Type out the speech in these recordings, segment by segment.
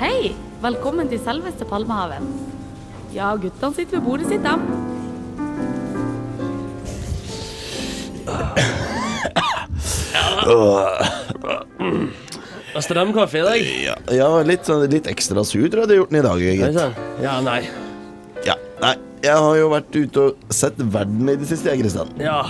Hei! Velkommen til selveste Palmehaven. Ja, guttene sitter ved bordet sitt, dem. Det er Strøm kaffe i dag. Ja, ja litt, sånn- litt ekstra sur tror jeg du har gjort den i dag, Nei, gitt. sant? Ja, nei. Ja, nei, jeg har jo vært ute og sett verden i det siste, jeg, Kristian. Ja,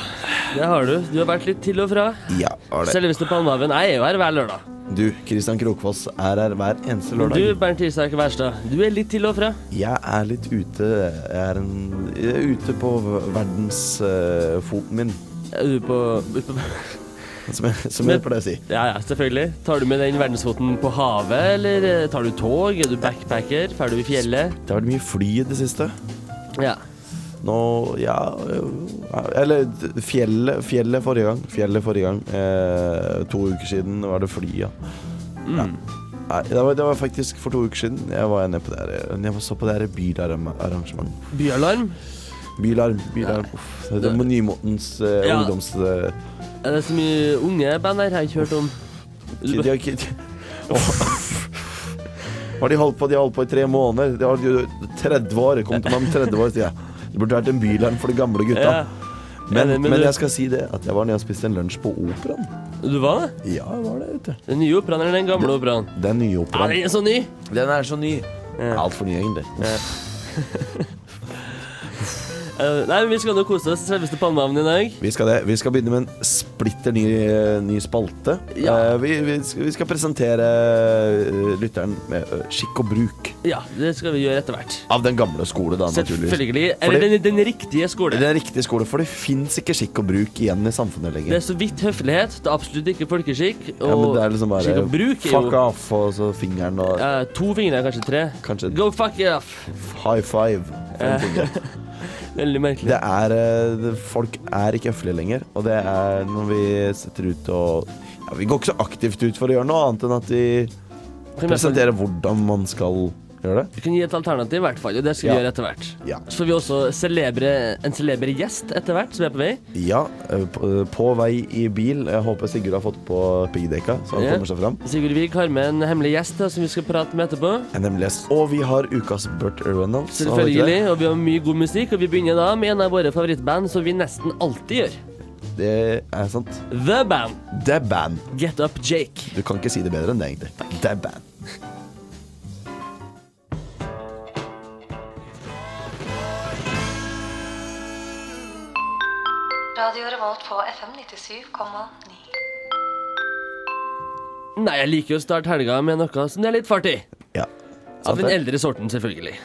det har du. Du har vært litt til og fra. Ja, har det. Selveste Palmehaven. Jeg er jo her hver lørdag. Du, Kristian Krokfoss, er her hver eneste lørdag. Du, Bernt Isak Wærstad, du er litt til og fra. Jeg er litt ute. Jeg er, en, jeg er ute på verdensfoten min, Er du på, ut på som jeg, som Men- jeg pleier å si. Ja ja, selvfølgelig. Tar du med den verdensfoten på havet, eller eh, tar du tog? Er du backpacker? Drar du i fjellet? Det har vært mye fly i det siste. Ja. Nå, ja øh, Eller fjellet, fjellet forrige gang. Fjellet forrige gang. Eh, to uker siden var det fly, ja. Mm. ja. Nei, det var, det var faktisk for to uker siden. Jeg var nede på det her, eh, Jeg var så på det her bylarmarrangement. Byalarm? Bylarm. bylarm. Uff, det er nymotens eh, Ja. ungdoms... eh, Er det så mye unge band her? Har jeg ikke hørt om. De har ikke de- Har de holdt på De har holdt på i tre måneder. De har de- 30 år. Kom til meg om 30 år, sier jeg. Det burde vært en bylarm for de gamle Ja. gutta. Men, Ja, men men du- jeg skal si det at jeg var nede og spiste en lunsj på operaen. Du var det? Ja, jeg var det, vet du. Den nye operaen eller den gamle operaen? Den nye Ja, den operaen. er så ny! Den er så ny. Ja. Altfor ny, egentlig. Eh, nei, men vi skal nå kose oss. Selveste Palmehaven i dag. Vi skal, det. vi skal begynne med en splitter ny, eh, ny spalte. Ja. Eh, vi, vi, skal, vi skal presentere eh, lytteren med eh, skikk og bruk Ja, det skal vi gjøre etter hvert. av den gamle skole, da, naturligvis. Selvfølgelig. Eller Fordi- den, den riktige skolen. Det er riktig skole, for det fins ikke skikk og bruk igjen i samfunnet Det lenger. er så vidt høflighet. Det er absolutt ikke folkeskikk. Og ja, men det er liksom bare skikk og bruk er Fuck jo off, og så fingeren og eh, to fingre, kanskje tre. Kanskje- Go fuck off. high five. Fem fingre. Veldig merkelig. Det er eh, det- Folk er ikke høflige lenger, og det er når vi setter ut og ja, Vi går ikke så aktivt ut for å gjøre noe annet enn at vi Kan vi- presenterer hvordan man skal gjøre det. Vi kan gi et alternativ, i hvert fall, og det skal Ja. vi gjøre etter hvert. Ja. Så får vi også celebre, en celebre gjest etter hvert, som er på vei. Ja, eh, på- på vei i bil. Jeg håper Sigurd har fått på piggdekka, så han Ja. kommer seg fram. Sigurd Vik har med en hemmelig gjest da, som vi skal prate med etterpå. Jeg nemlig lest. Og vi har ukas Burt Reynolds. har vi ikke Selvfølgelig, og vi har mye god musikk, og vi begynner da med en av våre favorittband, som vi nesten alltid gjør. Det Det er sant. The Band, Det er band. Get Up Jake. Du kan ikke si det bedre enn det, egentlig. Det er band. Radio Revolt på FM 97,9. Nei, jeg liker jo å starte helga med noe som det er litt fart i. Ja. Av Sant den det? eldre sorten, selvfølgelig.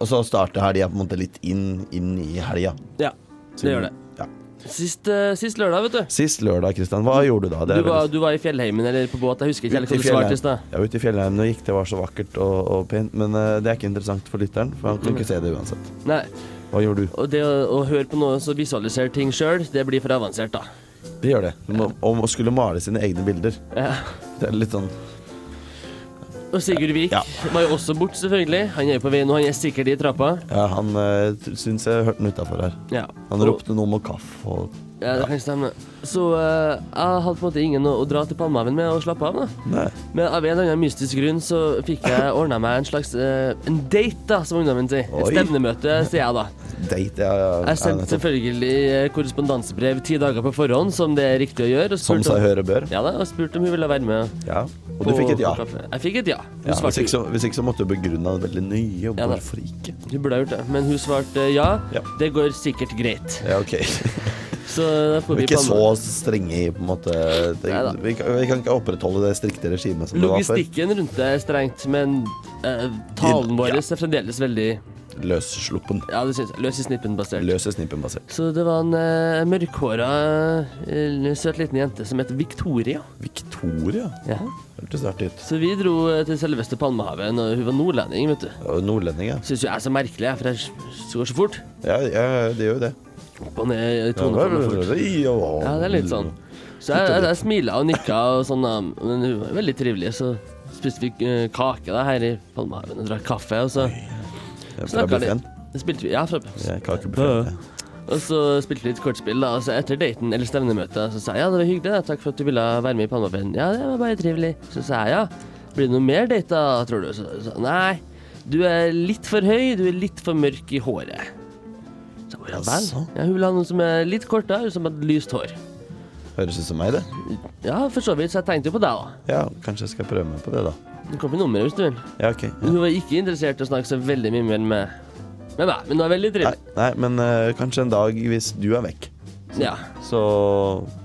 Og så starter helga på en måte litt inn, inn i helga. Ja, det gjør det. Ja. Sist, eh, sist lørdag, vet du. Sist lørdag, Kristian, hva gjorde du da? Det Du er var, veldig- du var i fjellheimen eller på båt, jeg husker ikke Ute helt i hva du svarte i fjellheimen. stad. Ja, ute i fjellheimen og gikk, det var så vakkert og, og pent. Men eh, det er ikke interessant for lytteren, for han kan ikke se det uansett. Nei. Hva gjorde du? Og det å, å høre på noe som visualiserer ting sjøl, det blir for avansert, da. Det gjør det. Om om å skulle male sine egne bilder. Ja. Det er litt sånn Og Sigurd Vik Ja. var jo også borte, selvfølgelig. Han er jo på vei nå, han er sikkert i trappa. Ja, han uh, syns jeg hørte den utafor her. Ja. Han Og- ropte noe om kaffe og Ja, det kan stemme. Så eh, jeg hadde på en måte ingen å, å dra til Palmehaven med og slappe av, da. Nei. Men av en eller annen mystisk grunn så fikk jeg ordna meg en slags eh, en date, da, som ungdommen sier. Et Oi. stevnemøte, sier jeg da. Date, ja. ja, ja Jeg sendte nettopp. selvfølgelig eh, korrespondensebrev ti dager på forhånd, som det er riktig å gjøre. Og Som spurte seg om, høre bør. ja, da, og spurte om hun ville være med. Ja. Og du på- fikk et ja. på kaffe. Jeg fikk et ja. Hun Ja, hvis, svarte ikke så, hvis ikke så måtte du begrunne det veldig nøye. Ja, da. Hvorfor ikke? Hun burde ha gjort det, men hun svarte ja. Ja. Det går sikkert greit. Ja, ok. Så da får Vi er vi ikke på- så strenge i på en måte det, Neida. vi, kan, vi kan ikke opprettholde det strikte regimet som det var før. Logistikken rundt det er strengt, men eh, talen vår Ja. er fremdeles veldig Løssluppen. Ja, det synes jeg. Løs i snippen-basert. Løse snippen-basert. Så det var en eh, mørkhåra, eh, søt liten jente som het Victoria. Victoria? Ja. Hørtes artig ut. Så vi dro eh, til selveste Palmehaven, og hun var nordlending, vet du. Ja, Nordlending, ja. Syns jo jeg er så merkelig, jeg, for jeg går så fort. Ja, ja, det gjør jo det. Opp og ned i Ja, toneformen fort. Ja, det er litt sånn. Så jeg, jeg, jeg smila og nikka og sånn, da, men hun var veldig trivelig. Så spiste vi eh, kake da, her i Palmehaven og drakk kaffe, og så Ja, fra snakka buffeten. litt. Det spilte vi. Ja, fra Jeg kan ikke Ja, befale ja. Og så spilte vi litt kortspill, da. Og så etter daten eller stevnemøtet så sa jeg ja, det var hyggelig, da. takk for at du ville være med i Palmapen. Ja, det var bare trivelig. Så sa jeg ja. Blir det noe mer date, da, tror du? Så sa jeg, nei, du er litt for høy, du er litt for mørk i håret. Så, jeg, ja, vel. Jaså? Ja, hun vil ha noen som er litt kortere, som har lyst hår. Høres ut som meg, det. Ja, for så vidt, så jeg tenkte jo på deg òg. Ja, kanskje jeg skal prøve meg på det, da. Du kan få nummeret hvis du vil. Ja, ok. Ja. Hun var ikke interessert i å snakke så veldig mye mer med, med meg, men hun er veldig Nei, trivelig. nei, men eh, kanskje en dag hvis du er vekk. Ja, Så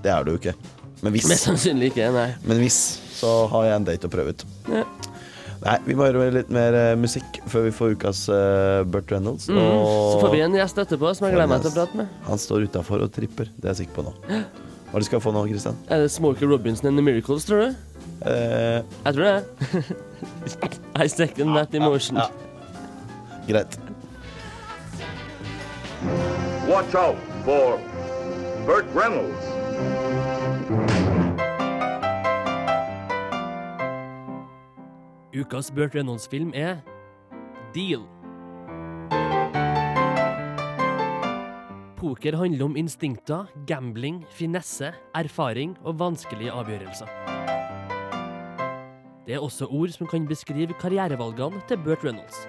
Det er du jo ikke. Men Mest hvis, sannsynlig ikke, nei. men hvis, så har jeg en date å prøve ut. Ja. Nei, vi må høre litt mer eh, musikk før vi får ukas eh, Burt Reynolds. Mm. Så får vi Og en gjest etterpå som jeg gleder meg til å prate med. han står utafor og tripper. Det er jeg sikker på nå. Hva er det du skal få nå, Kristian? Er det Smokey Robinson and The Miracles, tror du? Eh, Jeg tror det. I second that emotion. ja. greit. Watch out for Burt Reynolds. Ukas Burt Reynolds-film er Deal. Poker handler om instinkter, gambling, finesse, erfaring og vanskelige avgjørelser. Det er også ord som kan beskrive karrierevalgene til Burt Reynolds.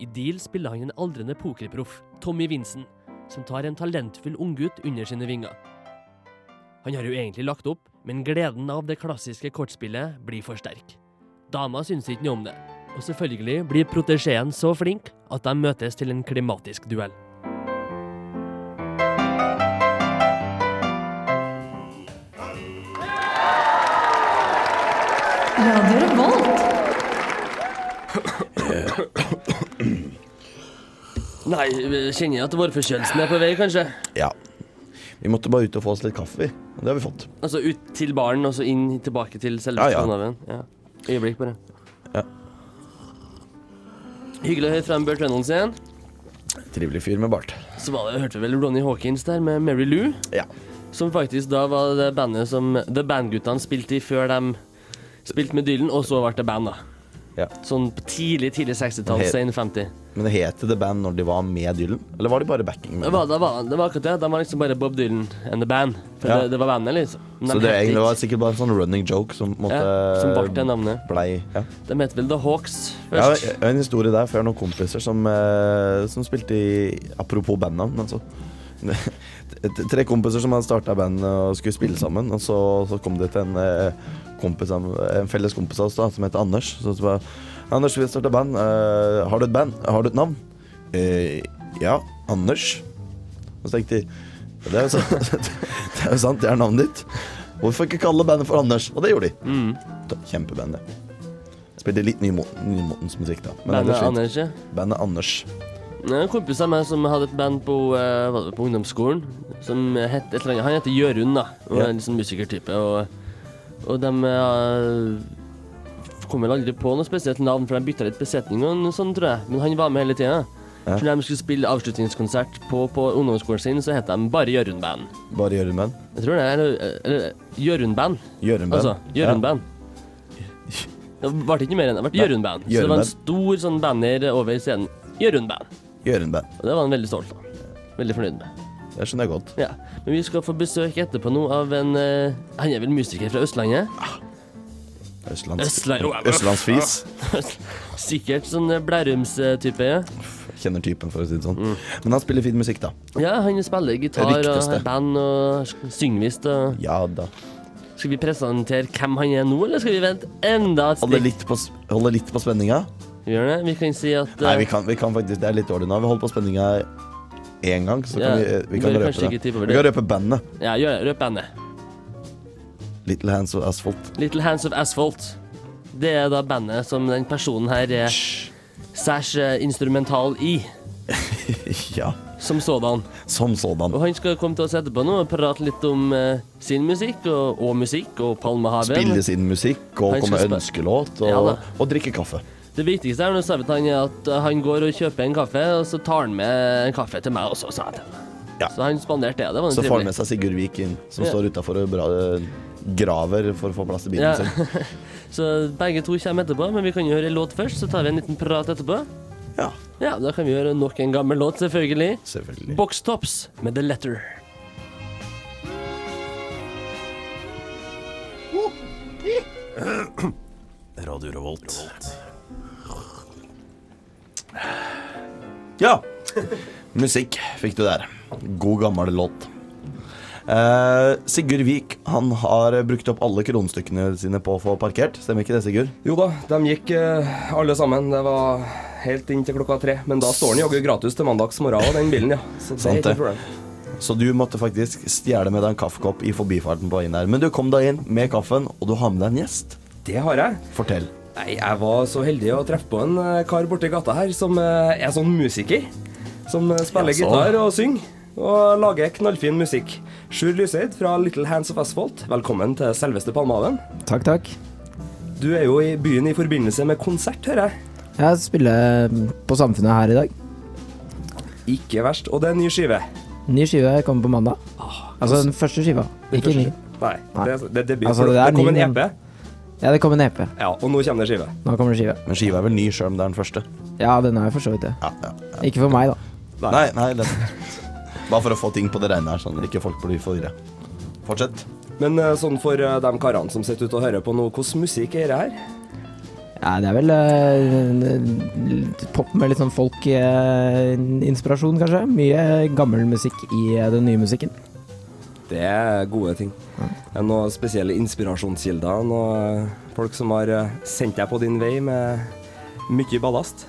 I Deal spiller han en aldrende pokerproff, Tommy Vinson, som tar en talentfull unggutt under sine vinger. Han har jo egentlig lagt opp, men gleden av det klassiske kortspillet blir for sterk. Dama syns ikke noe om det, og selvfølgelig blir protesjeen så flink at de møtes til en klimatisk duell. Radio Revolt. Nei, kjenner jeg at vårforkjølelsen er på vei, kanskje? Ja. Vi måtte bare ut og få oss litt kaffe, vi. Og det har vi fått. Altså ut til baren, og så inn tilbake til selve Ja, ja. skandinaven. Ja. Øyeblikk, bare. Ja. Hyggelig å høre frem Burt Reynolds igjen. Trivelig fyr med bart. Så var det, hørte vi vel Ronny Hawkins der med Mary Lou. Ja. Som faktisk da var det bandet som The Band-guttene spilte i før de spilte med Dylan, og så ble det band, da. ja. Sånn på tidlig tidlig 60-tall, Helt- sen 50. Men det het The Band når de var med Dylan? Eller var de bare backing? Det Med? var, det, var, det var akkurat det. De var liksom bare Bob Dylan and The Band. For Ja. det, det var bandet, liksom. Men Så de det het egentlig ikke- var sikkert bare en sånn running joke som måtte ja, Som ble det navnet. Blei ja. De het vel The Hawks Ja, først. jeg har en historie der, for jeg har noen kompiser som, eh, som spilte i Apropos bandnavn, altså. T- Tre kompiser som hadde starta band og skulle spille sammen. Og så, så kom de til en, eh, kompis, av- en felles kompis av oss da, som heter Anders. Så så bare, Anders, vi starter band. Eh, har du et band? Har du et navn? «Eh, ja, Anders. Og så tenkte de det er, jo sant. det er jo sant, det er navnet ditt. Hvorfor ikke kalle bandet for Anders? Og det gjorde de. Kjempeband, det. Spilte litt nymo- nymotens musikk, da. Men Bandet ellers fint. Anders, ja. Bandet Anders. Det er En kompis av meg som hadde et band på, eh, hva var det, på ungdomsskolen som het et eller annet. Han heter Jørund, da. Og Ja. er en sånn musikertype. Og, og de eh, kom vel aldri på noe spesielt navn, for de bytta litt besetning og noe sånt, tror jeg. Men han var med hele tida. Ja. Så når de skulle spille avslutningskonsert på, på ungdomsskolen sin, så het de bare Jørund-band. Bare Gjørund-band. Jeg tror det er eller- eller Jørund-band. Gjørund-band. Altså Jørund-band. Det ble ikke noe mer enn det. det. ble Jørund-band. Så det var en stor sånn banner over scenen. Jørund-band. Ja, Gjørund-band. Og det var han veldig stolt av. Veldig fornøyd med. Det skjønner jeg godt. Ja. Men vi skal få besøk etterpå nå av en eh, Han er vel musiker fra Østlandet? Østlands... Østland- Åh, Østlandsfis. Sikkert sånn eh, Blærums-type. Ja. Kjenner typen, for å si det sånn. Mm. Men han spiller fin musikk, da. ja, han spiller gitar og Ryktes det. har band og synger visst. Og... Ja da. Skal vi presentere hvem han er nå, eller skal vi vente enda et Holder stikk? litt på, s- holder litt på spenninga. Vi gjør det. Vi kan si at Nei, eh, vi kan, vi kan faktisk Det er litt dårlig nå. Vi holder på spenninga én gang, så kan Ja, vi, vi kan bør røpe kanskje ikke det. tippe over Vi kan røpe bandet. eh, Ja, gjør det. Røp bandet. Little Hands of Asphalt. Little Hands of Asphalt. Det er da bandet som den personen her er særs eh, instrumental i, Ja, som sådan. som sådan. Og han skal komme til oss etterpå nå og prate litt om eh, sin musikk, og, og musikk, og Palmehaven. Spille sin musikk og Han komme med skal ønskelåt Ja og, da. og drikke kaffe. Det viktigste er nå sa vi til han er at eh, han går og kjøper en kaffe, og så tar han med en kaffe til meg også, sa han til meg. Ja. Så han spanderte det. Det var Så jo får han med trivelig. seg Sigurd Vik inn, som Ja. står utafor og bra- graver for å få plass til bilen Ja. sin. Så begge to kommer etterpå, men vi kan jo høre en låt først, så tar vi en liten prat etterpå. Ja, Ja, da kan vi høre nok en gammel låt, selvfølgelig. selvfølgelig. Box Tops med The Letter. Radio Revolt. Ja. Musikk fikk du der. God gammel låt. Eh, Sigurd Vik han har brukt opp alle kronestykkene sine på å få parkert. Stemmer ikke det, Sigurd? Jo da, de gikk eh, alle sammen. Det var helt inn til klokka tre. Men da står den jaggu gratis til mandagsmorgen, og den bilen, ja. Så det Sant er ikke det. noe problem. Så du måtte faktisk stjele med deg en kaffekopp i forbifarten på veien der. Men du kom deg inn med kaffen, og du har med deg en gjest. Det har jeg. Fortell. Nei, jeg var så heldig å treffe på en eh, kar borti gata her som eh, er sånn musiker. Som eh, spiller Jaså. gitar og synger. Og lager knallfin musikk. Sjur Lyseid fra Little Hands of Asphalt, velkommen til selveste Palmehaven. Takk, takk. Du er jo i byen i forbindelse med konsert, hører jeg. Jeg spiller um, på Samfunnet her i dag. Ikke verst. Og det er en ny skive. Ny skive kommer på mandag. Altså den første skiva, ikke ny. Nei, Nei. det, det er debut. Altså, for det det, er kom ny, en men- EP, Ja, det kommer en EP. ja, og nå kommer det skive. Nå kommer det skive. Men skiva er vel ny, sjøl om det er den første. Ja, den er jo for så vidt det. Ja, ja. Ikke for meg, da. Nei. Nei, nei, det Bare for å få ting på det rene her, sånn at ikke folk blir forvirra. Fortsett. Men eh, sånn for eh, de karene som sitter ute og hører på nå, hvordan musikk er det her? Ja, det er vel eh, pop med litt sånn folk-inspirasjon, kanskje. Mye gammel musikk i eh, den nye musikken. Det er gode ting. Er det noen spesielle inspirasjonskilder? Noen folk som har eh, sendt deg på din vei med mye ballast?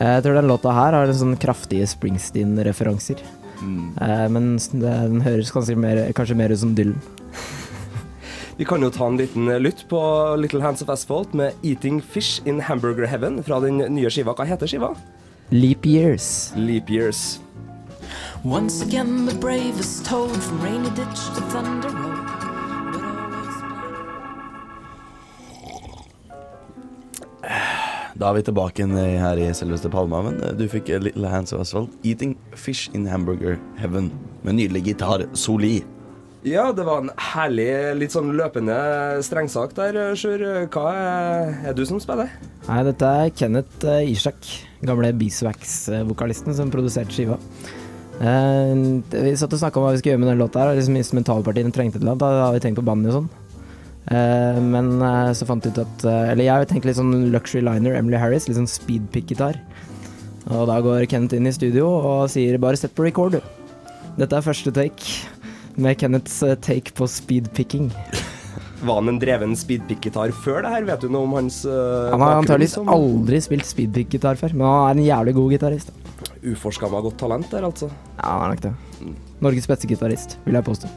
Eh, Jeg tror den låta her har en sånn kraftige Springsteen-referanser. Eh, Men s- den høres kanskje mer, kanskje mer ut som Dylan. Vi kan jo ta en liten eh, lytt på Little Hands of Asphalt med 'Eating Fish in Hamburger Heaven' fra den nye skiva. Hva heter skiva? Leap Years. Leap Years. Once again, the brave is told from rainy ditch to thunder road. But always- Da er vi tilbake igjen eh, her i selveste Palmehaven. Eh, Du fikk eh, Little Hands of Asphalt, Eating Fish in Hamburger Heaven, med nydelig gitar, Soli. Ja, det var en herlig, litt sånn løpende strengsak der, eh, Sjur. Hva er, er du som spiller? Nei, dette er Kenneth eh, Ishak, gamle Beeswax-vokalisten som produserte skiva. Eh, vi satt og snakka om hva vi skulle gjøre med den låta. her og liksom Instrumentalpartiene trengte et eller annet. Da hadde vi tenkt på bandy og sånn. Eh, men eh, så fant vi ut at eh, Eller jeg tenkte litt sånn luxury liner, Emily Harris, litt sånn speedpick-gitar. Og da går Kenneth inn i studio og sier 'bare sett på record', du. Dette er første take med Kenneths eh, take på speedpicking. Var han en dreven speedpick-gitar før det her? Vet du noe om hans uh, Han har antakeligvis aldri spilt speedpick-gitar før, men han er en jævlig god gitarist. da. Uforskamma godt talent der, altså. Ja, han er nok det. Norges beste gitarist, vil jeg påstå.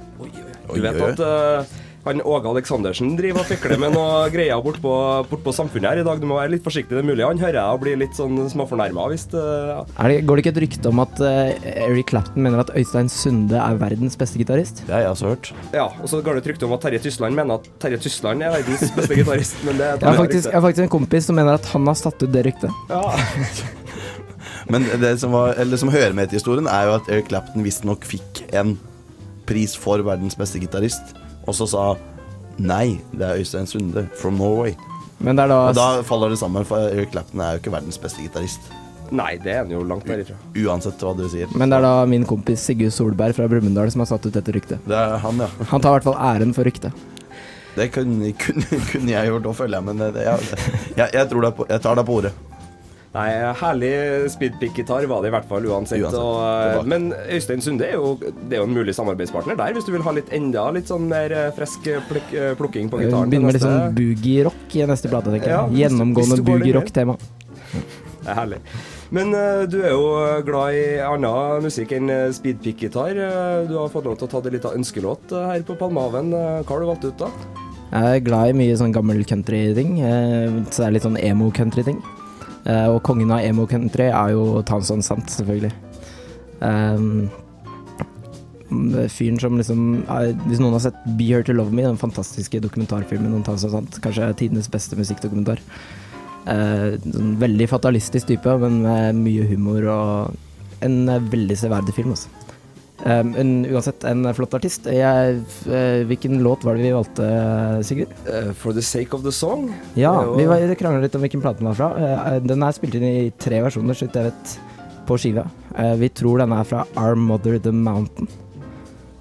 Du vet at eh, han Åge Aleksandersen driver og fikler med noe greier bortpå bort på samfunnet her i dag. Du må være litt forsiktig, det er mulig han hører jeg og blir litt sånn småfornærma hvis det ja. Er det, går det ikke et rykte om at eh, Eric Clapton mener at Øystein Sunde er verdens beste gitarist? Det har jeg også hørt. ja. Og så går det et rykte om at Terje Tysland mener at Terje Tysland er verdens beste gitarist, men det Jeg har, faktisk, jeg har faktisk en kompis som mener at han har satt ut det ryktet. Ja. Men det som, var, eller som hører med til historien, er jo at Eric Clapton visstnok fikk en pris for verdens beste gitarist, og så sa Nei, det er Øystein Sunde from Norway. Men det er da, Og da faller det sammen, for Eric Clapton er jo ikke verdens beste gitarist. Nei, det er han jo langt derifra. Uansett hva du sier. men det er da min kompis Sigurd Solberg fra Brumunddal som har satt ut dette ryktet. Det er han, ja. Han tar i hvert fall æren for ryktet. Det kunne, kunne, kunne jeg gjort, og følger jeg, men det, det, jeg, jeg, jeg, tror deg på, jeg tar deg på ordet. Nei, herlig speedpick-gitar var det i hvert fall uansett. Uansett, Og, eh, tilbake. men Øystein Sunde er jo, det er jo en mulig samarbeidspartner der, hvis du vil ha litt enda litt sånn mer eh, frisk eh, plukk, eh, plukking på gitaren. til Begynner med litt neste- sånn boogie-rock i neste plate, tenker Ja, hvis du- jeg. Gjennomgående hvis du går litt boogie-rock-tema. Det er herlig. Men eh, du er jo eh, glad i annen musikk enn eh, speedpick-gitar. Eh, du har fått lov til å ta deg litt av ønskelåt eh, her på Palmehaven. Eh, hva har du valgt ut, da? Jeg er glad i mye sånn gammel country-ting. Eh, så det er litt sånn emo-country-ting. Eh, og kongen av emo-country er jo Townsend Sant, selvfølgelig. Ehm, det er mm, fyren som liksom er, Hvis noen har sett Be Here To Love Me, den fantastiske dokumentarfilmen om Townsend Sant, kanskje tidenes beste musikkdokumentar. Eh, sånn veldig fatalistisk type, men med mye humor og en eh, veldig severdig film, altså. Um, en, uansett, en flott artist. Jeg, eh, hvilken låt var det vi valgte, Sigrid? Eh, for the sake of the song. Ja, Det er jo- vi var- krangla litt om hvilken plate den var fra. Eh, den er spilt inn i tre versjoner, så vidt jeg vet, på skiva. Eh, vi tror den er fra Our Mother The Mountain.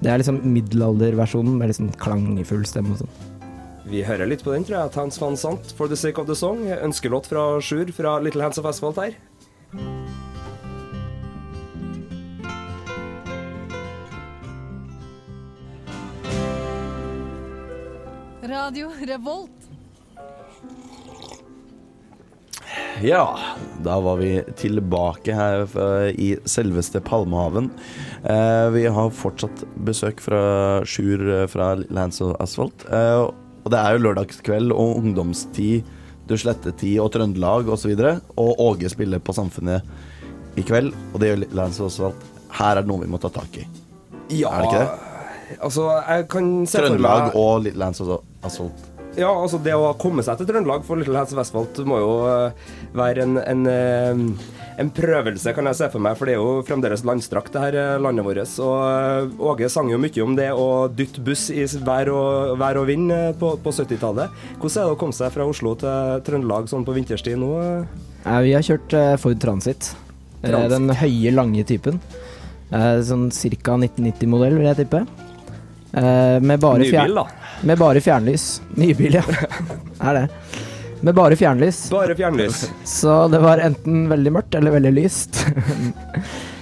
Det er liksom middelalderversjonen med liksom klangfull stemme og sånn. Vi hører litt på den, tror jeg. Tans van Sant, For the sake of the song. Ønskelåt fra Sjur fra Little Hands of Asphalt her. Radio Revolt. Ja, da var vi tilbake her eh, i selveste Palmehaven. Eh, Vi har fortsatt besøk fra Sjur eh, fra Lands of Asphalt. Eh, Og det er jo lørdagskveld og ungdomstid, duslettetid og Trøndelag osv. Og, så og Åge spiller på Samfunnet i kveld, og det gjør Lands of Asphalt. Her er det noe vi må ta tak i. Ja, Er det ikke Altså, jeg kan se Trøndelag for meg og Lands of Asphalt. Ja, altså, det å komme seg til Trøndelag for Little Hands of Asphalt må jo eh, være en, en, eh, en prøvelse, kan jeg se for meg, for det er jo fremdeles landstrakt, det her eh, landet vårt. Og eh, Åge sang jo mye om det å dytte buss i s- vær og, vær og vind eh, på, på 70-tallet. Hvordan er det å komme seg fra Oslo til Trøndelag sånn på vinterstid nå? eh? Eh, vi har kjørt eh, Ford Transit. Eh, Transit. den høye, lange typen. Eh, sånn ca. 1990-modell, vil jeg tippe. Eh, med, bare Nybil, fjer da. med bare fjernlys. Nybil, ja. er det. Med bare fjernlys. Bare fjernlys. Så det var enten veldig mørkt eller veldig lyst.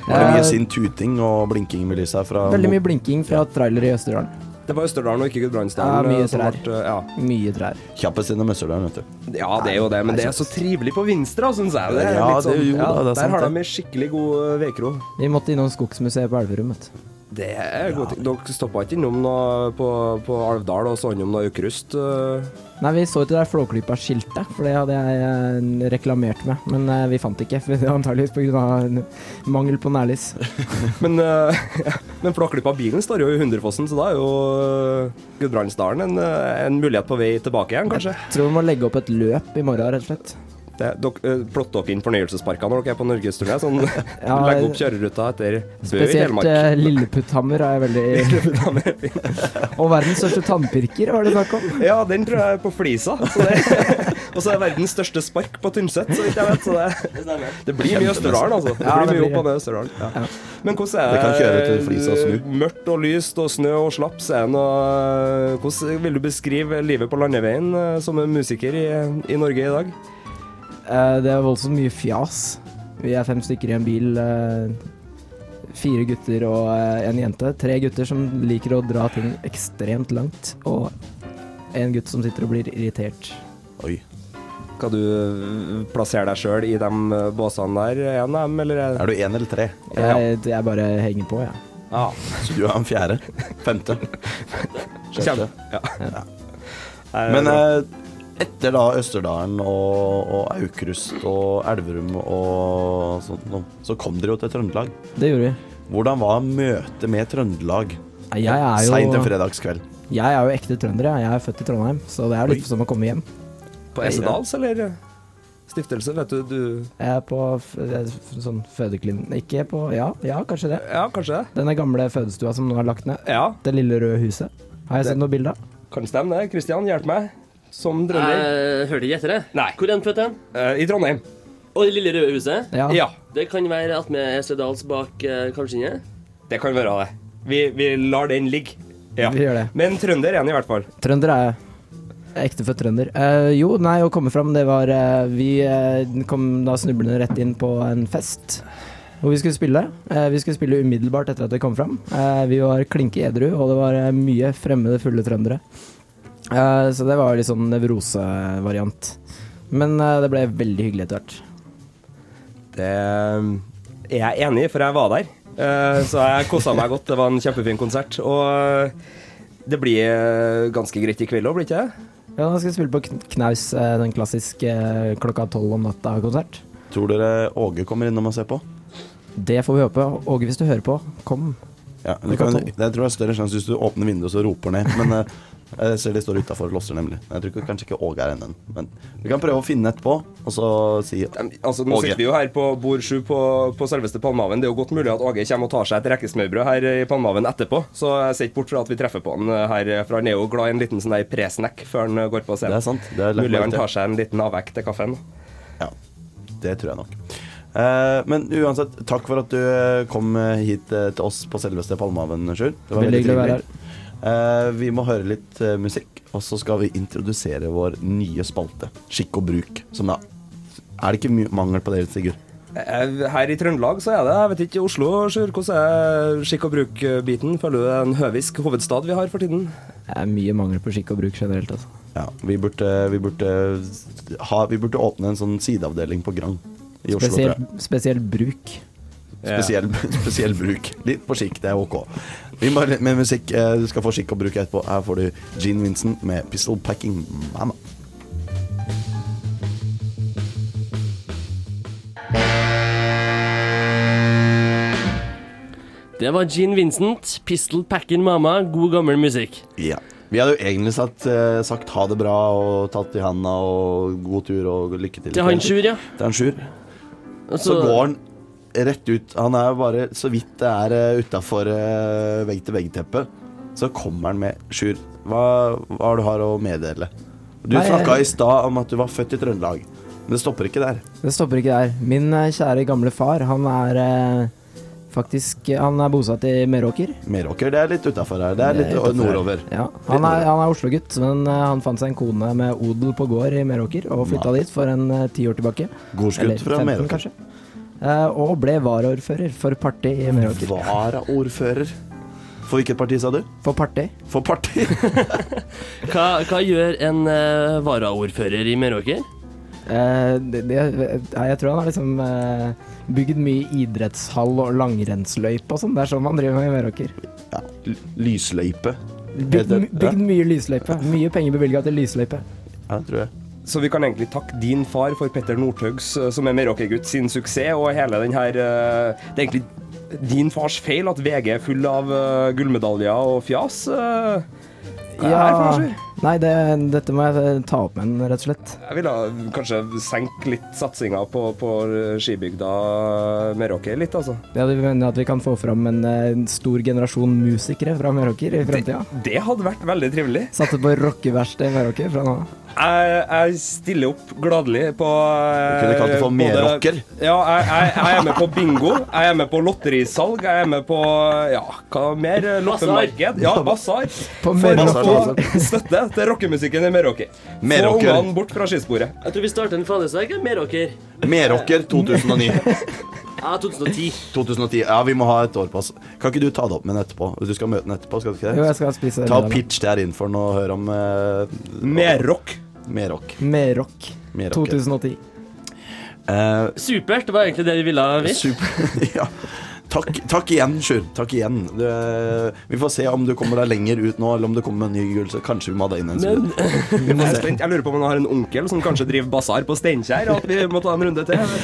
Det er mye Eh, sint tuting og blinking med lyset her fra veldig mye blinking fra trailere i Østerdalen. Det var Østerdalen og ikke Ja, Gudbrandsdalen. mye eh, som trær. ble, eh, ja. Mye trær. Kjappest sine møsser der, vet du. ja, det er jo det, men det er så trivelig på Vinstra, syns jeg. Det er Ja, litt det er sånn, jo- da, det er sant, der har det. de en skikkelig god eh, vedkro. Vi måtte innom Skogsmuseet på Elverum. vet du. Det er god ting. Dere stoppa ikke innom noe på, på Alvdal og så innom noe ukrust? eh. Nei, vi så ikke det der Flåklypa-skiltet, for det hadde jeg eh, reklamert med. Men eh, vi fant det ikke, for det var antageligvis pga. mangel på nærlys. Men, eh, men flåklypa av bilen står jo i Hundrefossen, så da er jo eh, Gudbrandsdalen en, eh, en mulighet på vei tilbake igjen, kanskje. Tror vi må legge opp et løp i morgen, rett og slett. Det, dere, eh, plott dere inn fornøyelsesparker når dere er på norgesturné? Sånn, Ja, legg opp kjøreruta etter Bø i Spesielt Telemark. eh, Lilleputthammer er veldig Og verdens største tannpirker, var det snakk om. Ja, den tror jeg er på flisa. Så det, og så er det verdens største spark på Tynset, så vidt jeg vet. Så det, det blir mye Østerdalen, altså. Det Ja, blir mye det blir opp og ned Østerdalen. Ja. Men hvordan er eh, Det kan kjøre til flisa og snu. Mørkt og lyst og snø og slapp scene. og eh, Hvordan vil du beskrive livet på landeveien eh, som en musiker i, i Norge i dag? Eh, det er voldsomt mye fjas. Vi er fem stykker i en bil. eh, fire gutter og eh, en jente. Tre gutter som liker å dra ting ekstremt langt. Og en gutt som sitter og blir irritert. Oi. Skal du eh, plassere deg sjøl i de eh, båsene der? Er en av dem, eller? er- Er du én eller tre? Jeg, jeg bare henger på, jeg. Ja. Så du er den fjerde? Femte? Sjette? Kjem- Ja. Nei, Men det er eh, etter da Østerdalen og, og Aukrust og Elverum og sånt noe, så kom dere jo til Trøndelag. Det gjorde vi. Hvordan var møtet med Trøndelag Nei, Jeg er seint en jo, fredagskveld? jeg er jo ekte trønder. jeg. Jeg er født i Trondheim, så det er Oi. litt som å komme hjem. bra. På Essedals, eller? Stiftelse, vet du. du Jeg er på f jeg er f- sånn fødeklinikk Ikke på Ja, ja, kanskje det. Ja, kanskje det. Denne gamle fødestua som nå er lagt ned. Ja, Det lille røde huset. Har jeg sett noe bilde av? kan stemme det. Kristian, hjelp meg. Som drømmer. hørte Eh, ikke etter det. Nei. Hvor er den født hen? Eh, I Trondheim. Og det lille røde huset? Ja. Ja, Det kan være attmed Esedals bak eh, Kalvskinnet. det kan være det. Vi, vi lar den ligge. Ja. Vi gjør det. Men trønder er han i hvert fall. Trønder er jeg. Jeg er Ektefødt trønder. Eh, jo, nei, å komme fram, det var eh, Vi eh, kom da snublende rett inn på en fest hvor vi skulle spille. Eh, vi skulle spille umiddelbart etter at vi kom fram. Eh, vi var klinke edru, og det var eh, mye fremmede, fulle trøndere. Eh, så det var jo litt sånn nevrosevariant. Men eh, det ble veldig hyggelig etter hvert. Det eh, er jeg enig i, for jeg var der. Eh, Så jeg kosa meg godt. Det var en kjempefin konsert. Og eh, det blir eh, ganske greit i kveld òg, blir det ikke det? Ja, da skal vi spille på Kn- Knaus, eh, den klassiske eh, klokka tolv om natta-konsert. Tror dere Åge kommer innom og ser på? Det får vi håpe. Åge, hvis du hører på, kom. Ja, du kan, det tror jeg er større sjanse hvis du åpner vinduet og så roper ned. Men eh, jeg ser de står utafor og låser, nemlig. Jeg tror ikke- kanskje ikke Åge er en den. Men vi kan prøve å finne etterpå, og så si Dem- Altså, nå Åge. sitter vi jo her på bord sju på, på selveste Palmehaven. Det er jo godt mulig at Åge kommer og tar seg et rekkesmørbrød her i Palmehaven etterpå. Så jeg ser ikke bort fra at vi treffer på han eh, her, for han er jo glad i en liten sånn der presnekk før han eh, går på scenen. Det er sant. Det er lagt mulig merke han til. tar seg en liten avvekk til kaffen. Ja, det tror jeg nok. Eh, men uansett, takk for at du eh, kom eh, hit eh, til oss på selveste Palmehaven, Sjur. Det var Veldig hyggelig å være trivelig. Eh, vi må høre litt eh, musikk, og så skal vi introdusere vår nye spalte, Skikk og bruk. Som da Er det ikke mye mangel på det, Sigurd? Eh, Her i Trøndelag så er det, jeg vet ikke, i Oslo, Sjur, hvordan er skikk og bruk-biten? Føler du det er en høvisk hovedstad vi har for tiden? Det er mye mangel på skikk og bruk generelt, altså. Ja, vi burde, vi burde, ha, vi burde åpne en sånn sideavdeling på Grang i Oslo. tror jeg. Spesielt, spesielt bruk. Spesiell, spesiell bruk. Litt på skikk, det er ok. Vi må litt med musikk. eh, Du skal få skikk og bruk etterpå. Her får du Gene Vincent med 'Pistol Packing Mama'. Det var Gene Vincent, Pistol Packin' Mama, god gammel musikk. Ja. Vi hadde jo egentlig sagt, eh, sagt ha det bra og tatt i handa og god tur og lykke til. Til han Sjur, ja. Til han Sjur. Og Så går han rett ut. Han er jo bare så vidt det er eh, utafor vegg-til-vegg-teppet. Så kommer han med Sjur, hva, hva er det du har å meddele? Du Nei, snakka i jeg- stad om at du var født i Trøndelag, men det stopper ikke der. Det stopper ikke der. Min eh, kjære gamle far, han er eh, faktisk Han er bosatt i Meråker. Meråker, det er litt utafor her. Det er litt utenfor her. nordover. Ja. Han er, han er Oslo-gutt, men eh, han fant seg en kone med odel på gård i Meråker og flytta dit for en eh, ti år tilbake. Eller Godsgutt fra 15 Meråker. kanskje. Eh, og ble varaordfører for Parti i Meråker. Varaordfører. For hvilket parti, sa du? For Parti? For parti! Hva, hva gjør en eh, varaordfører i Meråker? Eh, det, det, nei, jeg tror han har liksom eh, bygd mye idrettshall og langrennsløype og sånn. Det er sånn man driver med i Meråker. Ja. l- Lysløype. Bygd, Heter- bygd mye lysløype. Mye penger bevilga til lysløype. Ja, tror jeg. Så vi kan egentlig takke din far for Petter Northaugs, eh, som er Meråker-gutt, sin suksess, og hele den her eh, Det er egentlig din fars feil at VG er full av eh, gullmedaljer og fjas. eh. Hva er det her for noe, Sjur? Nei, det, dette må jeg eh, ta opp med den, rett og slett. Jeg ville kanskje senke litt satsinga på, på skibygda Meråker litt, altså. Ja, Du mener at vi kan få fram en, eh, en stor generasjon musikere fra Meråker i Det, fremtida? det hadde vært veldig trivelig. Satse på rockeverksted i Meråker fra nå av? Jeg, jeg stiller opp gladelig på eh, Du kunne kalt det for både- Meråker. Ja, jeg, jeg, jeg er med på bingo. Jeg er med på lotterisalg. Jeg er med på ja, hva mer? Loppemarked. Ja, basar. På For å Meråker. Basar, få støtte til rockemusikken i Meråker. Få Meråker. ungene bort fra skisporet. Jeg tror vi starter en fanesak i Meråker. Meråker 2009. Ja, 2010. 2010. Ja, vi må ha et år på oss. Kan ikke du ta det opp med den etterpå? Du skal møte den etterpå, skal du ikke Jo, jeg det? skal spise Ta middag og nå. pitch der inn for den og hør om eh, Merrock. Meråk. Meråk Meråker. 2010. Eh, Supert var egentlig det vi ville vite. Super. ja. Takk, takk igjen, Sjur. Takk igjen. Du, eh, vi får se om du kommer deg lenger ut nå, eller om du kommer med en ny gull. Så kanskje vi må ha deg inn en Men- stund. Jeg er spent. Jeg lurer på om han har en onkel som kanskje driver basar på Steinkjer, og at vi må ta en runde til.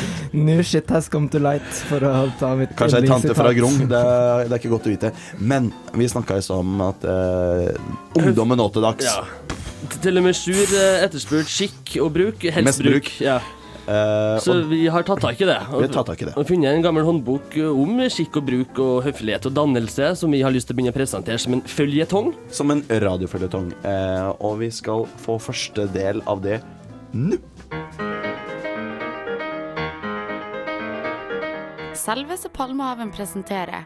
New shit has come to light, for å ta mitt Kanskje ei tante fra yndlingssitat. Grong. Det, er- det er ikke godt å vite. Men vi snakka i stad om at eh, ungdommen nå til dags Ja. Til og med Sjur eh, etterspurt skikk og bruk. Mest Helst bruk. bruk. Ja. eh, Så og, vi har tatt tak i det. Vi har tatt tak i det. Og funnet en gammel håndbok om skikk og bruk og høflighet og dannelse, som vi har lyst til å begynne å presentere som en føljetong. Som en radioføljetong. Eh, og vi skal få første del av det nå. Selveste Palmehaven presenterer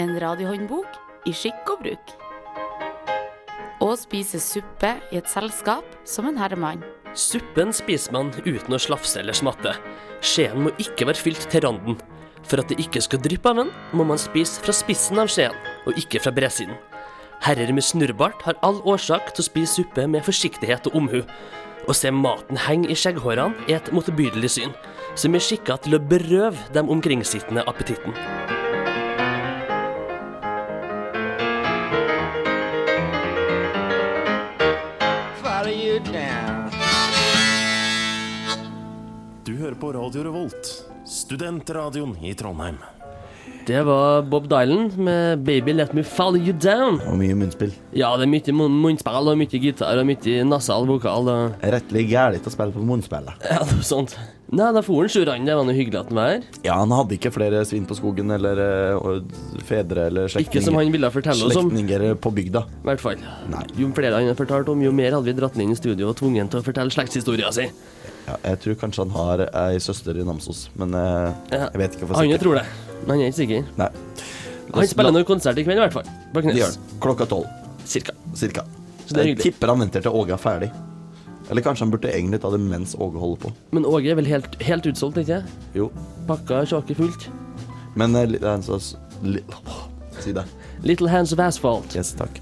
En radiohåndbok i skikk og bruk. Og spise suppe i et selskap som en herremann. Suppen spiser man uten å slafse eller smatte. Skjeen må ikke være fylt til randen. For at det ikke skal dryppe av den, må man spise fra spissen av skjeen, og ikke fra bredsiden. Herrer med snurrebart har all årsak til å spise suppe med forsiktighet og omhu. Å se maten henge i skjegghårene er et motbydelig syn, som er skikka til å berøve dem omkringsittende appetitten. Du hører på Radio Revolt, studentradioen i Trondheim. Det var Bob Dylan med 'Baby Let Me Follow You Down'. Og mye munnspill. Ja, det er mye mun- munnspill og mye gitar og mye nasal vokal. Og Rettelig gærent å spille på munnspillet. ja, noe sånt. Nei, da for han Sjurand. Det var noe hyggelig at han var her. Ja, han hadde ikke flere svin på skogen eller eh, og fedre eller Ikke som han slektninger, ville fortelle oss om, slektninger på bygda. i hvert fall. Nei. Jo flere han fortalte om, jo mer hadde vi dratt han inn i studio og tvunget han til å fortelle slektshistoria si. Ja, jeg tror kanskje han har ei søster i Namsos, men eh, Ja. jeg vet ikke for Han jo sikkert. tror det, men han er ikke sikker. Nei. Han spiller noe konsert i kveld, i hvert fall. På Det gjør Knes. han. Klokka tolv, Cirka. cirka. Så det er jeg hyggelig. tipper han venter til Åge er ferdig. Eller kanskje han burde egentlig ta det mens Åge holder på. Men Åge er vel helt, helt utsolgt, ikke Jo, Pakka er sjåke fullt. men eh, li- det er en sånn s- li- åh, Si det. Little Hands of Asphalt. Yes, takk.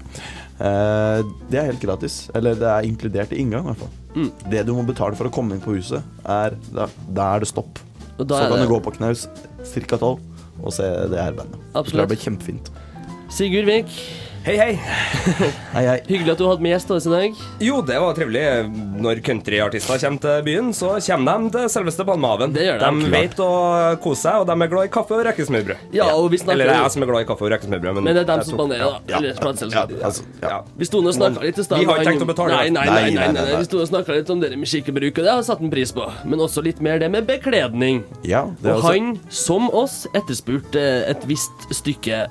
Eh, det er helt gratis. Eller det er inkludert i inngang, i hvert fall. Mm. Det du må betale for å komme inn på huset, er Da, da er det stopp. Og da Så er kan det- du gå på knaus ca. tolv og se det her bandet. Jeg tror Absolutt. Det blir kjempefint. Sigurd Vik, Hei, hei! Hei, hei. hyggelig at du hadde med gjest til oss i dag. Jo, det var trivelig. Når countryartister kommer til byen, så kommer de til selveste Palmehaven. Det gjør de. De vet å kose seg, og de er glad i kaffe og rekesmørbrød. Ja, og vi snakker- Eller det er jeg som er glad i kaffe og rekesmørbrød, Men men, det er dem jeg som tok- spanderer, da. Eller plateselskapet. Ja, altså, ja. Ja. Vi sto nå og snakka litt i stad. Vi har ikke med tenkt å han- betale Nei, det. nei, nei, Nei, nei, nei, nei, nei. Vi sto og snakka litt om det med skikkebruk, og det har satt en pris på. Men også litt mer det med bekledning. ja det er altså- Og også- han, som oss, etterspurte et visst stykke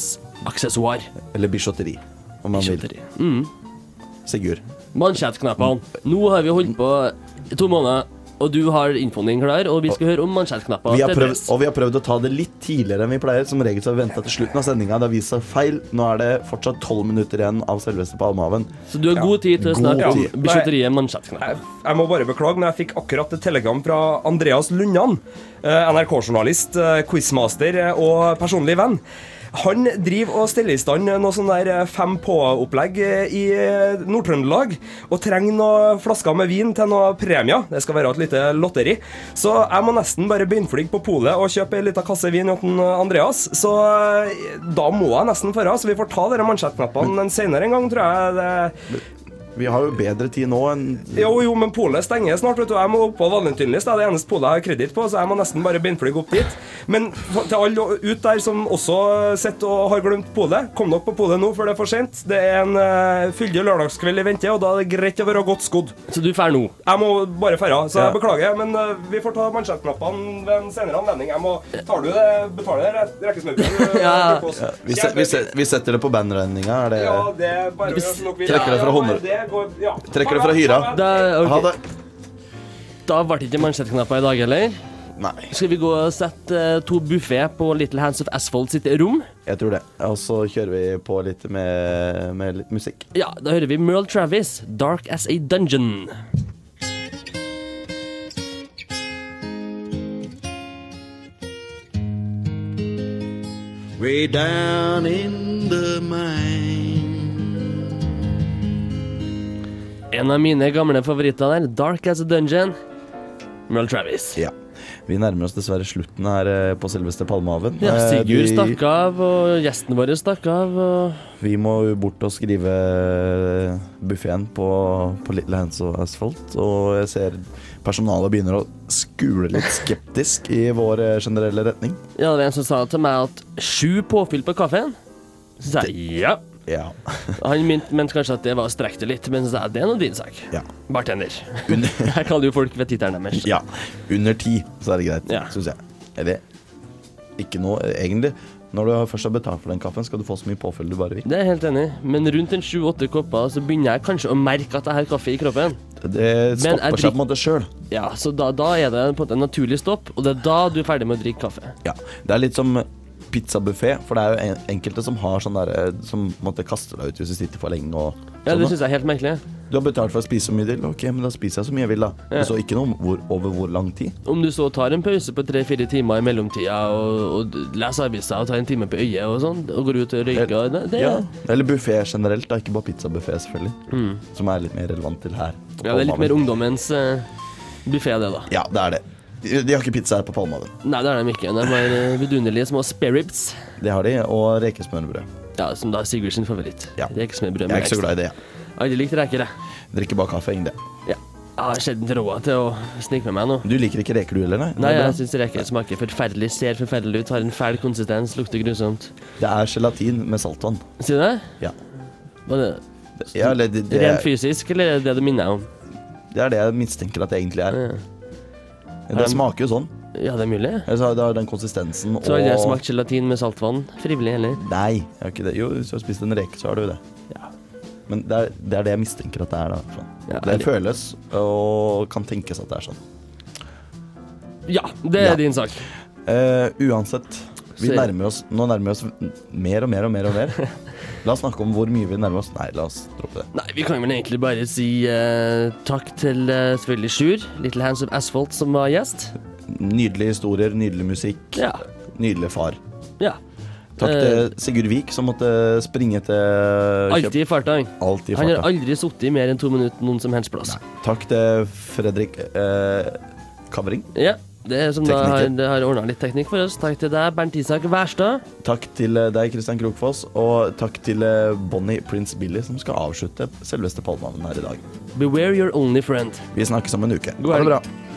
bekledningsaksessoar. Eller bichotteri, om man vil. Skjønner du? Mm. Sigurd. Mansjettknappene. Nå har vi holdt på i to måneder, og du har infoen din klar, og vi skal høre om mansjettknapper. Vi har til prøvd, dress. og vi har prøvd å ta det litt tidligere enn vi pleier. Som regel så har vi venta til slutten av sendinga. Det har vist seg feil. Nå er det fortsatt tolv minutter igjen av selveste Palmehaven. Så du har god tid til å God snakke om tid. biskjotteriet mansjettknapper. Jeg, jeg må bare beklage, men jeg fikk akkurat et telegram fra Andreas Lundan. eh, NRK-journalist, eh, quizmaster eh, og personlig venn. Han driver og steller i stand eh, noe sånn der eh, fem på-opplegg eh, i eh, Nord-Trøndelag. Og trenger noen flasker med vin til noen premier. Det skal være et lite lotteri. Så jeg må nesten bare beinfly på polet og kjøpe ei lita kasse vin til Andreas. Så eh, da må jeg nesten dra, så vi får ta dere mansjettknappene en senere en gang, tror jeg. Det Vi har jo bedre tid nå enn jo, jo, men polet stenger snart. vet du Jeg må opp på Valentinlist. Det er det eneste polet jeg har kreditt på, så jeg må nesten bare beinfly opp dit. Men for- til alle ut der som også sitter og har glemt polet, kom dere på polet nå før det er for sent. Det er en eh, fyldig lørdagskveld i vente, og da er det greit å være godt skodd. Så du drar nå. Jeg må bare dra, så Ja. jeg beklager, men eh, vi får ta mansjettknappene ved en senere anledning. Jeg må Tar du det? Betaler det re- rekkesmørbrød? Ja. Ja, vi, se, vi, se, vi setter det på bandregninga. Er det Ja, det er bare nok vi- Trekker det fra Ja, hundre- det går- ja. Trekker det fra hyra. Da, ok. Ha det. da ble det ikke mansjettknapper i dag heller. Nei, Skal vi gå og sette eh, to buffé på Little Hands of Asphalt sitt rom? jeg tror det. Og så kjører vi på litt med, med litt musikk. Ja, da hører vi Merle Travis, 'Dark As A Dungeon'. way down in the mine. En av mine gamle favoritter der, 'Dark As A Dungeon'. Merle Travis. Ja. Vi nærmer oss dessverre slutten her eh, på selveste Palmehaven. Ja, Eh, Sigurd vi- stakk av, og gjesten vår stakk av. Og... Vi må jo bort og skrive eh, buffeen på, på Little Hands og Asphalt. Og jeg ser personalet begynner å skule litt skeptisk i vår eh, generelle retning. Ja, det var en som sa til meg at sju påfyll på kaffen. Så sa jeg ja. Ja. Han mente mente kanskje at det var å strekke det litt, men så sa jeg det er nå din sak. Ja. Bartender. Jeg kaller jo folk ved tittelen deres. ja. Under ti, så er det greit, Ja. syns jeg. Eller ikke noe, eh, egentlig. Når du først har betalt for den kaffen, skal du få så mye påfyll du bare vil. Det er jeg helt enig i, men rundt en sju-åtte kopper så begynner jeg kanskje å merke at jeg har kaffe i kroppen. Det stopper Men jeg seg på en drikk- måte sjøl. Ja, Så da, da er det på en måte en naturlig stopp, og det er da du er ferdig med å drikke kaffe. Ja. Det er litt som pizzabuffé, for det er jo en- enkelte som har sånn der eh, Som på en måte kaster deg ut hvis du sitter for lenge og Ja, sånn, da. Det syns jeg er helt merkelig. Du har betalt for å spise så mye du vil. Ok, men da spiser jeg så mye jeg vil, da. Det står ikke noe om hvor, over hvor lang tid. Om du så tar en pause på tre-fire timer i mellomtida, og, og leser aviser og tar en time på øyet og sånn, og går ut og røyker og det, det, Ja. Eller buffé generelt, da. Ikke bare pizzabuffé, selvfølgelig. Som er litt mer relevant til her. på Mm. ja, det er litt Palmehaven. mer ungdommens uh, buffé, det, da. Ja, det er det. De, de har ikke pizza her på Palmehaven. Nei, det er de ikke. De har eh, vidunderlige små spareribs, Det har de. Og rekesmørbrød. ja, som da er Sigurd sin favoritt. Ja. Rekesmørbrød Jeg med er ikke så ekstra. glad i det, jeg. Aldri likt reker, jeg. Drikker bare kaffe, egentlig. Ja. Jeg har sjelden råd til å snike med meg nå. Du liker ikke reker, du heller, nei? Nei, det, jeg er bra. syns reker smaker forferdelig, ser forferdelig ut, har en fæl konsistens, lukter grusomt. det er gelatin med saltvann. Sier du det? Ja. Var det Ja, eller det, det, rent fysisk, eller er det det du minner deg om? det er det jeg mistenker at det egentlig er. Ja. Det smaker jo sånn. Ja, det er mulig. Jeg sa, det har den konsistensen og Så har jeg smakt gelatin med saltvann frivillig, heller. Nei, jeg har ikke det. Jo, hvis du har spist en reke, så har du jo det. Ja. Men det er, det er det jeg mistenker at det er. da sånn. Ja, Det ærlig. føles og kan tenkes at det er sånn. Ja, det er Ja. din sak. Eh, uansett, vi Så- nærmer oss, nå nærmer vi oss n- mer og mer og mer. og mer La oss snakke om hvor mye vi nærmer oss. Nei, la oss droppe det. Nei, vi kan vel egentlig bare si eh, takk til eh, selvfølgelig Sjur, Little Hands of Asphalt, som var gjest. Nydelige historier, nydelig musikk, Ja. nydelig far. ja. Takk til Sigurd Vik, som måtte springe til kjøp- Alltid i farta. han. Alltid i Han har farta. aldri sittet i mer enn to minutter noen som helst plass. Takk til Fredrik eh, Kavring. Ja, det er som da har, Tekniker. det har ordna litt teknikk for oss. Takk til deg, Bernt Isak Wærstad. Takk til eh, deg, Kristian Krokfoss, og takk til eh, Bonnie Prince Billy, som skal avslutte selveste palmehavnen her i dag. Beware your only friend. Vi snakkes om en uke. God Ha det helg. bra.